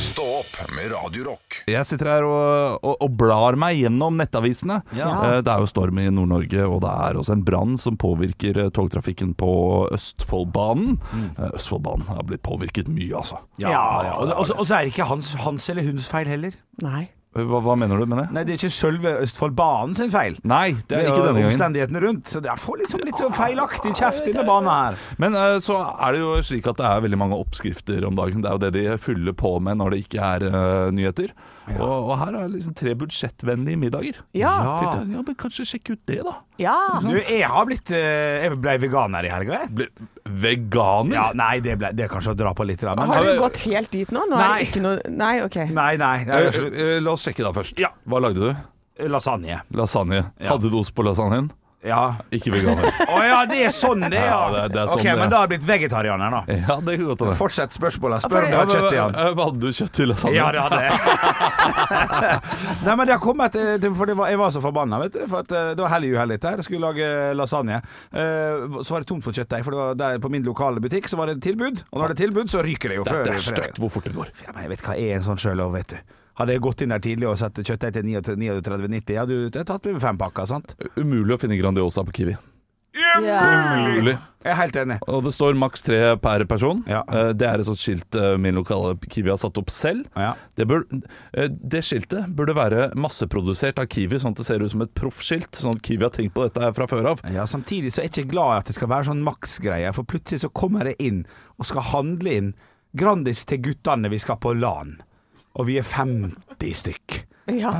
A: Stå opp med Radio Rock.
C: Jeg sitter her og, og, og blar meg gjennom nettavisene.
B: Ja.
C: Eh, Det er jo storm i Nord-Norge, og det er også en brann som påvirker eh, togtrafikken på Østfoldbanen. Eh, Østfoldbanen har blitt påvirket mye, altså.
B: Mm. Ja, ja. Og, og, så- og så er det ikke hans, hans eller hunds feil heller.
D: Nei.
C: Hva, hva mener du med det?
B: Nei, det er ikke selve Østfoldbanen sin feil.
C: Nei, det er ikke denne gangen.
B: omstendighetene rundt. Så det er for liksom litt sånn feilaktig kjeft i banen her.
C: Men eh, så er det jo slik at det er veldig mange oppskrifter om dagen. Det er jo det de fyller på med når det ikke er eh, nyheter. Og, og her er liksom tre budsjettvennlige middager.
D: Ja.
C: Tenkte jeg, ja, men kanskje sjekke ut det, da.
D: Ja.
B: Du, jeg har blitt eh, Jeg ble veganer i helga, jeg.
C: Ble veganer?
B: Ja, nei, det, ble, det er kanskje å dra på litt, da. Men,
D: Har du gått helt dit nå? Nå er
B: Nei.
D: det ikke noe Nei, OK.
B: nei, nei.
C: Eh,
B: Det er,
C: eh, La oss sjekke da først.
B: Ja.
C: Hva lagde du?
B: lasagne.
C: Lasagne. Hadde du ost på lasagnen?
B: Ja.
C: Ikke veganer.
B: Å ja, det er sånn det, ja.
C: Ja, det er- det er sånn
B: ok,
C: det er.
B: men da har jeg blitt vegetarianer, da.
C: (laughs) ja, sånn det kan godt hende.
B: Fortsett spørsmålet.
D: for-
B: Spør om det var kjøtt i han.
C: Eh, Hadde du kjøtt i lasagnen?
B: Ja, det hadde jeg. (laughs) Nei, men det har kommet eh, til, For det var, jeg var så forbanna, vet du. For at, eh, det var hellig uhell dette her. Jeg skulle lage lasagne. Eh, Så var det tomt for kjøttdeig, for det var der på min lokale butikk så var det tilbud. Og når det er tilbud, så ryker det jo før
C: Det er
B: fredag.
C: stygt hvor fort det går.
B: Ja, men jeg vet hva jeg er en sånn sjøl òg, vet du. Hadde jeg gått inn der tidlig og satt kjøttdeig til 39,90, hadde du tatt med fem pakker, sant?
C: Umulig å finne Grandiosa på Kiwi. Umulig.
B: Jeg er helt enig.
C: Og det står maks tre per person.
B: Ja.
C: Eh, Det er et sånt skilt eh, min lokale Kiwi har satt opp selv.
B: Ja.
C: Det, bør, eh, det skiltet burde være masseprodusert av Kiwi, sånn at det ser ut som et proffskilt. Sånn at Kiwi har tenkt på dette her fra før av.
B: Ja, Samtidig så er jeg ikke glad i at det skal være sånn maksgreie, for plutselig så kommer jeg inn og skal handle inn Grandis til guttene vi skal på LAN, og vi er 50 stykk.
D: Ja.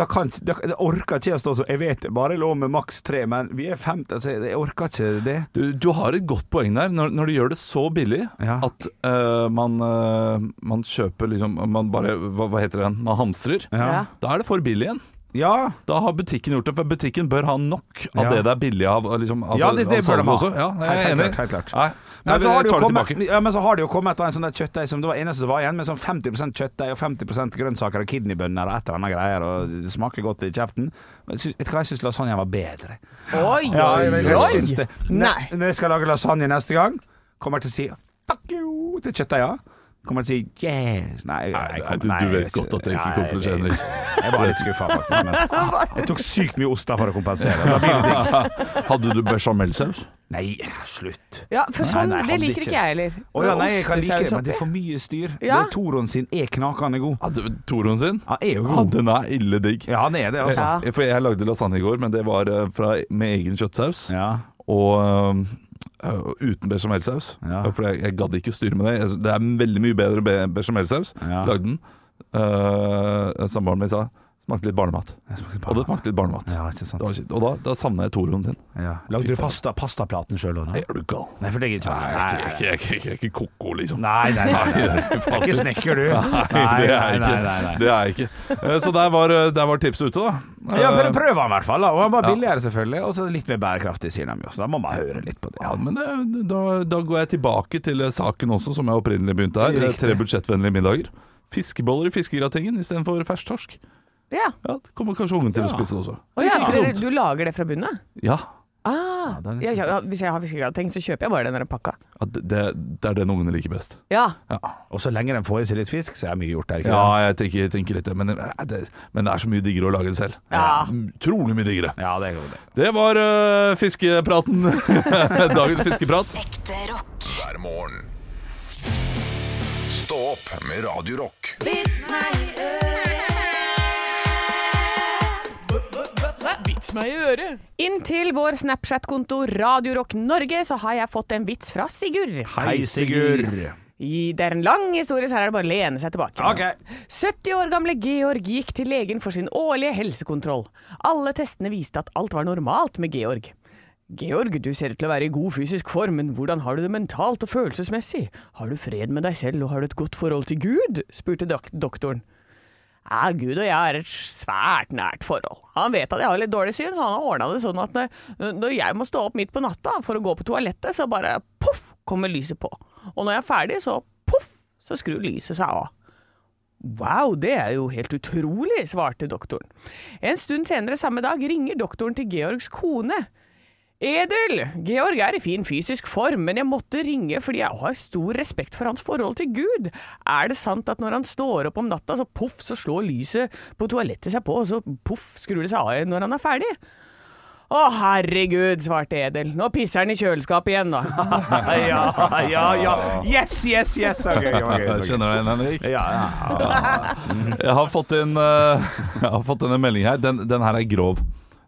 B: Da, kan, da, da orker ikke jeg å stå sånn Jeg vet det bare er lov med maks tre, men vi er 50 altså, Jeg jeg orker ikke det.
C: Du, du har et godt poeng der. Når, når de gjør det så billig
B: Ja.
C: at eh, man, eh, man kjøper liksom Man bare Hva, hva heter det? igjen? Man hamstrer.
D: Ja.
C: Da er det for billig igjen.
B: Ja,
C: Da har butikken gjort det, for butikken bør ha nok av
B: Ja.
C: det det er billig av. Liksom, altså,
B: Ja, det- det
C: av
B: bør de
C: salget
B: ha.
C: også. Ja, jeg er
B: Helt- helt
C: enig.
B: klart, helt klart.
C: Nei,
B: men,
C: nei,
B: så har det jo
C: jeg tar det
B: kommet,
C: tilbake.
B: ja, men så har det jo kommet da en sånn der kjøttdeig som det var eneste som var igjen, med sånn 50 kjøttdeig og 50 grønnsaker og kidneybønner og et eller annet greier, og det smaker godt i kjeften. Men jeg syns- Vet du hva, jeg syns lasagnen var bedre.
D: Oi,
B: Ja, jeg,
D: oi,
B: vet- jeg syns
D: oi.
B: det.
D: Nei.
B: Når jeg skal lage lasagne neste gang, kommer jeg til å si fuck you til kjøttdeiga. Kommer han til å si yeah Nei, jeg,
C: Nei,
B: jeg
C: nei,
B: kommer-
C: du, du
B: nei,
C: vet godt at jeg ikke
B: nei,
C: kommer til å skjønne
B: Jeg var litt skuffa, faktisk. Men
D: (laughs)
B: jeg tok sykt mye ost da for å kompensere. Da blir det digg.
C: Hadde du bechamelsaus?
B: Nei, slutt.
I: Ja, for sånn,
B: Nei, nei,
I: det
B: hadde
I: liker
B: ikke.
I: ikke jeg heller.
B: Å ja, nei, jeg kan like det,
I: Ostesaus
B: men det er
I: oppi.
B: for mye styr.
I: Ja.
B: Det Toron sin er knakende god.
C: Hadde Toron sin?
B: Han er jo
C: Ja,
B: god.
C: den er ille digg.
B: Ja, han er det, altså.
I: Ja.
C: Eh, For jeg lagde lasagne i går, men det var eh, fra, med egen kjøttsaus.
B: Ja.
C: Og eh, og uten bechamelsaus.
B: Ja.
C: For jeg, jeg gadd ikke å styre med det. Jeg- Det er veldig mye bedre be bechamelsaus.
B: Ja.
C: Lagde den. Eh, Samboeren min sa smakte litt barnemat.
B: Jeg smakte
C: Og det
B: barnemat.
C: smakte litt barnemat.
B: Ja, ikke sant.
C: Det var kjipt. Og da, da savna jeg Toroen sin.
B: Ja. Lagde du pasta, pastaplaten sjøl òg?
C: Nei, er du gal?
B: Nei, for det gidder ikke
C: Jeg er
B: jeg.
C: ikke- jeg er ikke- jeg er ikke koko, liksom.
B: Nei, nei, nei. nei, nei.
C: Fy
B: Du er
C: (laughs) faen.
B: ikke snekker, du.
C: Nei, det er jeg
B: nei,
C: ikke.
B: nei, nei.
C: Det er jeg ikke. Eh, Så der var, eh, der var tipset ute, da.
B: Ja,
C: Eh,
B: men prøv han i hvert fall, da. Og han var billigere, selvfølgelig. Og så litt mer bærekraftig, sier de jo. Så da må man høre litt på det.
C: Ja, men det, da, da går jeg tilbake til eh, saken også, som jeg opprinnelig begynte her. Eh,
B: Riktig.
C: Tre budsjettvennlige middager. Fiskeboller i fiskegratingen istedenfor fersk torsk.
I: Ja.
C: Ja, det kommer kanskje ungen til å
B: Ja.
C: spise det også.
I: Å ja,
C: Ikke
I: for dere,
C: dumt.
I: du lager det fra bunnen av?
C: Ja,
I: Ah,
B: det er litt
I: ja, ja, hvis jeg har fiskegrateng, så kjøper jeg bare den der pakka.
C: ja, det, det det er den ungene liker best.
I: Ja.
C: Ja,
B: Og så lenge de får i seg litt fisk, så er mye gjort der, ikke
C: ja jeg tenker, jeg tenker litt det men, eh, det. men det er så mye diggere å lage det selv.
I: Ja.
C: Trolig mye
B: det?
C: diggere.
B: Ja, det er jo det.
C: Det var eh, fiskepraten. (laughs) Dagens fiskeprat.
J: Ekte rock.
A: hver morgen. Stå opp med Radio Rock.
I: Vits meg i øret! Inn til vår Snapchat-konto Radiorock Norge så har jeg fått en vits fra Sigurd.
B: Hei, Sigurd.
I: I, det er en lang historie, så her er det bare å lene seg tilbake.
B: Ok.
I: 70 år gamle Georg gikk til legen for sin årlige helsekontroll. Alle testene viste at alt var normalt med Georg. Georg, du ser ut til å være i god fysisk form, men hvordan har du det mentalt og følelsesmessig? Har du fred med deg selv, og har du et godt forhold til Gud? spurte dok doktoren. Ja, Gud og jeg har et svært nært forhold. Han vet at jeg har litt dårlig syn, så han har ordna det sånn at når- når jeg må stå opp midt på natta for å gå på toalettet, så bare poff kommer lyset på. Og når jeg er ferdig, så poff, så skrur lyset seg av. Wow, det er jo helt utrolig, svarte doktoren. En stund senere samme dag ringer doktoren til Georgs kone. Edel, Georg er i fin fysisk form, men jeg måtte ringe fordi jeg har stor respekt for hans forhold til Gud. Er det sant at når han står opp om natta, så poff, så slår lyset på toalettet seg på, og så poff, skrur det seg av når han er ferdig? Å, herregud, svarte Edel. Nå pisser han i kjøleskapet igjen,
C: (laughs)
I: da.
B: Ja, ja, ja. Yes, yes, yes. Ok, ok,
C: (laughs)
B: ok.
C: Jeg kjenner deg igjen, Henrik.
B: Ja, ja.
C: Jeg har fått inn eh, (laughs) Jeg har fått inn en melding her. Den, den her er grov.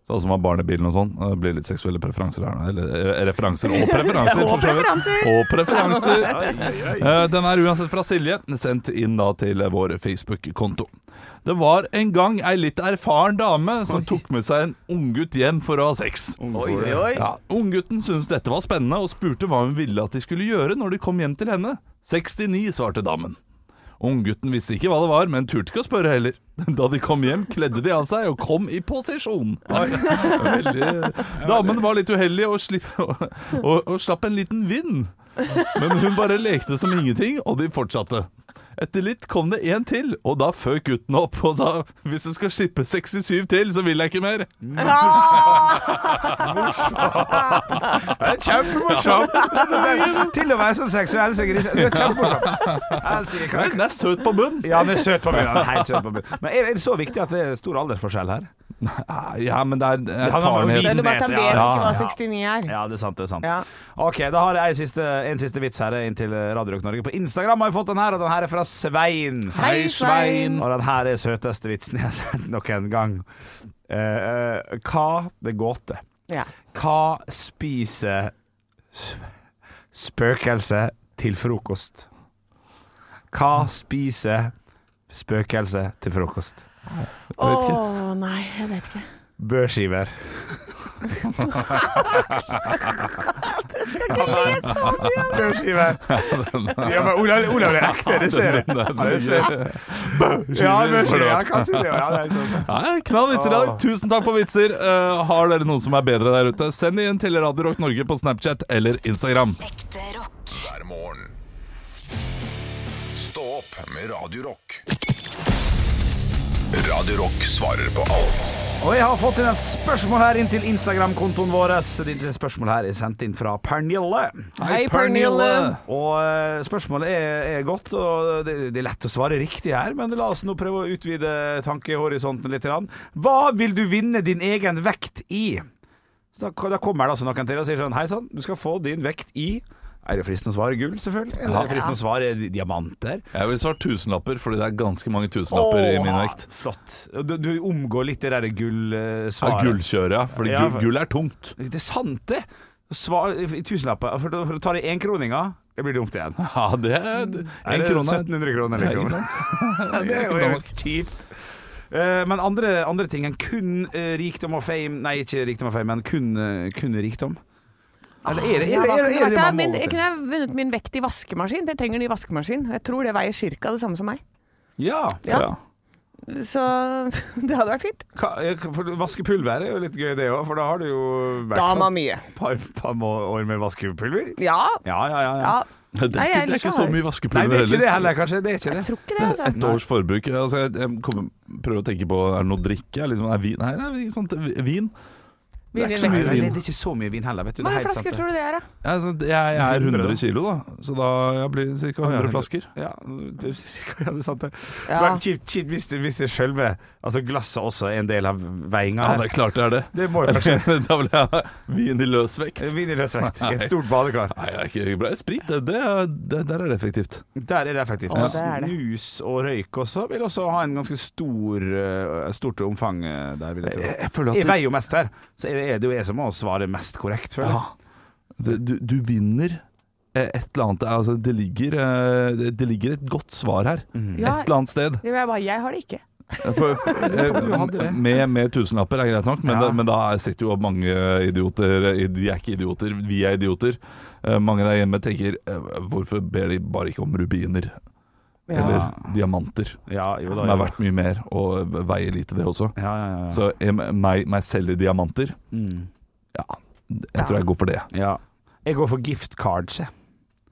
C: Så Alle som har barn i bilen og sånn. eh, Blir litt seksuelle preferanser her nå. Eller eh, referanser
I: (laughs)
C: og preferanser.
I: Og
C: for så vidt.
I: preferanser.
C: Og
I: (laughs)
C: preferanser. Eh, Den er uansett fra Silje, sendt inn da til vår Facebook-konto. Det var en gang ei litt erfaren dame som tok med seg en unggutt hjem for å ha sex.
I: Oi, oi.
C: Ja, Unggutten syntes dette var spennende og spurte hva hun ville at de skulle gjøre når de kom hjem til henne. 69, svarte damen. Unggutten visste ikke hva det var, men turte ikke å spørre heller. (laughs) Da de kom hjem, kledde de av seg og kom i posisjon. (laughs) Veldig. Damen var litt uheldig og, slipp, (laughs) og, og, og slapp en liten vind. Men hun bare lekte som ingenting, og de fortsatte. Etter litt kom det en til, og da føk gutten opp og sa 'Hvis du skal slippe 67 til, så vil jeg ikke mer'.
I: Ah!
B: Det er kjempemorsomt! Til å være så seksuell som gris. Det er kjempemorsomt. Helsike, kan-
C: Den er søt på bunn.
B: Ja, han er søt på munnen. Han er Helt søt på munnen. Men er det så viktig at det er stor aldersforskjell her?
C: Nei, Ja, men det er
B: Han har jo
C: erfarenhet.
I: Eller bare at han vet
C: Ja,
I: ikke hva
B: ja.
I: 69 er.
B: Ja, det er sant. det er sant
I: Ja.
B: Ok, Da har jeg en siste, en siste vits her inn til Radio Rock Norge. På Instagram har jeg fått den her, og den her er fra Svein.
I: Hei, Svein.
B: Og den her er søteste vitsen jeg har sett noen gang. Eh, eh, hva Det er gåte.
I: Ja.
B: Hva spiser sp- spøkelse til frokost? Hva spiser spøkelse til frokost?
C: (laughs)
I: Å nei, jeg vet ikke.
B: Børskiver. (laughs) Børskiver. Ja, men Olav, Olav det er ekte, (laughs) det ser jeg. Ja, det ser jeg. Ja, børskiver. Ja, hva sier du? Ja, det er sant.
C: Nei, Knall vitser i dag. Tusen takk for vitser. Eh, har dere noen som er bedre der ute, send inn til Radio Rock Norge på Snapchat eller Instagram.
J: Ekte rock.
A: hver morgen. Stå opp med Radio Rock. Radio Rock svarer på alt.
B: Og jeg har fått inn et spørsmål her inn til Instagram-kontoen vår. Dette spørsmålet her er sendt inn fra Pernille.
D: Hei, Pernille.
B: Og eh, spørsmålet er, er godt, og det, det er lett å svare riktig her, men la oss nå prøve å utvide tankehorisonten litt. grann. Hva vil du vinne din egen vekt i? Så Da, da kommer det altså noen til og sier sånn Hei sann, du skal få din vekt i Er det fristende å svare gull, selvfølgelig? Eller er det fristende å svare diamanter?
C: Jeg vil svare tusenlapper, fordi det er ganske mange tusenlapper i min vekt.
B: Flott. Du, du omgår litt det derre
C: Ja,
B: gullsvaret.
C: gullkjøret, ja. Fordi
B: Ja,
C: gull,
B: for-
C: gull er tungt.
B: Det er sant, det! Svar i i tusenlapper. For, å- for å ta det i énkroninga, det blir dumt igjen.
C: (laughs) Ja, det er
B: Er
C: En
B: det
C: krone.
B: 1700 kroner,
C: Ja,
B: liksom.
C: ikke sant?
B: (laughs) det er jo helt kjipt. Eh, Men andre, andre ting enn kun eh, rikdom og fame Nei, ikke rikdom og fame, men kun, eh, kun rikdom. Eller er det, er det, er det, er det man må
D: min, jeg
B: til?
D: kunne jeg vunnet min vekt i vaskemaskin. Jeg trenger ny vaskemaskin. Jeg tror det veier cirka det samme som meg.
B: Ja.
D: Ja.
B: ja.
D: Så (laughs) det hadde vært fint.
B: Ka- eh, For vaskepulver er jo litt gøy, det òg, for da har du jo vært
D: Dama
B: et
D: mye.
B: par, par må- år med vaskepulver.
D: Ja.
B: Ja, ja, ja. ja.
D: ja.
C: Det er
D: Nei, jeg
C: ikke, det er ikke
D: liker
C: så
D: det.
C: mye
B: Nei,
C: vaskepulver
B: det er ikke det heller, kanskje. Det er ikke det.
D: Jeg tror ikke det, altså.
C: Et års forbruk. Altså, jeg, jeg kommer, prøver å tenke på Er det noe å drikke? Er det Liksom, er vin? Nei, nei, ikke sant. vin.
D: Vi
C: Det er
D: vinner.
C: ikke så
B: Nei,
C: mye
B: nei,
C: vin.
B: det er ikke så mye vin heller, vet du.
D: Hvor
B: Det er
D: mange
B: helt
D: flasker
B: sant, det.
D: tror du det er, da?
C: Jeg, altså, jeg, jeg er
B: 100
C: 100 kilo, da. Så da jeg blir jeg ca. 100 flasker.
B: Ja, det er sikkert- ja, det er sant det.
D: Ja.
B: Men kjipt kjipt hvis, det- hvis det sjølve altså glasset også er en del av veiinga.
C: Ja,
B: her.
C: det er klart det (laughs) er det.
B: det må jo kanskje
C: da vil jeg ha vin i løs vekt.
B: Vin i løsvekt i et stort badekar.
C: Nei, det er ikke bra. Sprit, det, det, er- det, der er det effektivt.
B: Der er det effektivt.
D: Å, det er det.
B: Snus og røyk også vil også ha en ganske stor eh, stort omfang eh, der, vil jeg tro.
C: Jeg føler
B: Jeg veier jo mest her, så er det jo jeg som må svare mest korrekt, føler jeg.
C: Ja. Du, du, du vinner eh, et eller annet altså, det, ligger, eh, det- det ligger et godt svar her.
B: Mm.
D: Ja,
C: Et eller annet sted.
D: det vil jeg, bare, jeg har det ikke.
C: For,
B: (laughs)
C: eh, med, med tusenlapper er greit nok, men,
B: Ja.
C: det, men da sitter jo mange idioter eh, De er ikke idioter, vi er idioter. Eh, Mange der hjemme tenker eh, hvorfor ber de bare ikke om rubiner
D: Ja.
C: eller diamanter,
B: Ja, jo da.
C: som er
B: jo.
C: verdt mye mer og veier lite, det også.
B: Ja, ja, ja.
C: Så eh, meg, meg selv i diamanter,
B: Mm.
C: ja, jeg tror jeg går for det.
B: ja. Jeg går for gift cards, jeg.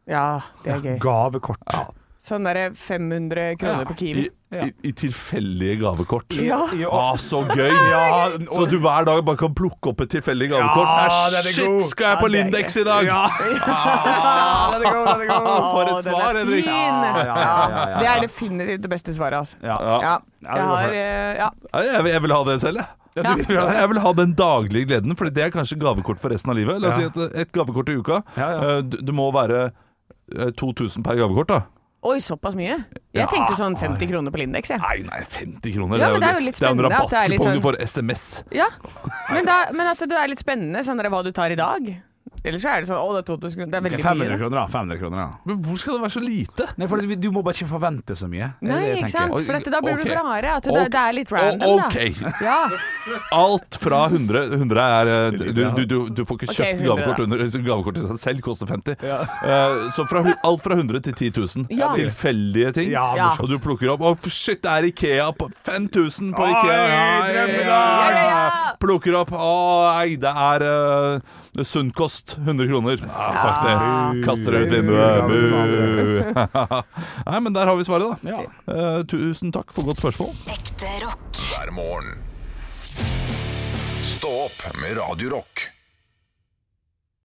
D: ja, det er gøy.
B: Gavekort.
D: Sånn derre 500 kroner på
C: I,
D: Kiwi.
C: i, i tilfeldige gavekort.
D: Ja.
B: I- i-
C: Ah, så gøy! så du hver dag bare kan plukke opp et tilfeldig gavekort?
B: Ja,
C: Nei,
B: den er
C: shit,
B: god.
C: skal jeg på
D: Ja, det er
C: Lindex i dag?
D: (laughs)
B: Ah, den er god, (laughs) den er god.
C: For
D: Å,
C: et
D: den
C: svar,
D: er
C: Henrik!
D: fin.
B: ja, ja, ja, ja.
D: Det er definitivt det beste svaret, altså.
B: Ja.
D: Ja.
B: Ja,
D: Jeg
B: vi går for
D: har
B: det.
D: eh, Ja.
C: Nei, Jeg, vil- jeg vil ha det selv, jeg.
B: Ja, du-
C: Ja, Jeg vil ha den daglige gleden, for det er kanskje gavekort for resten av livet. La oss
B: Ja.
C: si eh, et, et gavekort i uka.
B: Ja, ja.
C: Eh, Du, du må være eh, 2000 per gavekort, da.
D: Oi, såpass mye? Jeg tenkte sånn 50 kroner på Lindex, jeg.
C: Nei, nei, 50 kroner.
D: Ja, men det er jo litt
C: det er en
D: spennende at det er litt
C: rabattkupong du
D: sånn-
C: får SMS.
D: Ja. Men, da, men at det er litt spennende sånn der, hva du tar i dag. Ellers så er det sånn å, det er 2000 kroner. Det er
B: Ok,
D: veldig
B: 500
D: mye.
B: kroner, da. 500 kroner, da.
C: Men hvor skal det være så lite?
B: Nei, for du, du må bare ikke forvente så mye. Det er
D: Da. Nei,
B: det jeg
D: ikke
B: tenker.
D: sant.
C: Oi,
D: For at da blir
C: ok.
D: du gladere. At det,
C: Ok.
D: det er litt
C: Å,
D: random, da.
C: OK.
D: Ja.
C: Alt fra 100 100 er eh, Du, du, du, du får ikke
D: Ok,
C: kjøpt
D: 100
C: gavekort
D: da.
C: under så Gavekort til seg selv koster 50. Eh, så fra, hu- alt fra 100 til 10 000.
D: Ja.
C: Tilfeldige ting.
B: Ja,
D: Ja.
C: Og du plukker opp Å, shit, det er Ikea på 5000 på
B: Oi,
C: Ikea!
B: drømmedag!
C: Plukker opp Å, nei, det er uh, sunnkost. 100 kroner. Ah, fuck det. Kaster det ut vinduet. Bu. (laughs) nei, men der har vi svaret, da. Eh, tusen takk for godt spørsmål.
H: Ekte rock.
A: hver morgen. Stå opp med Radio Rock.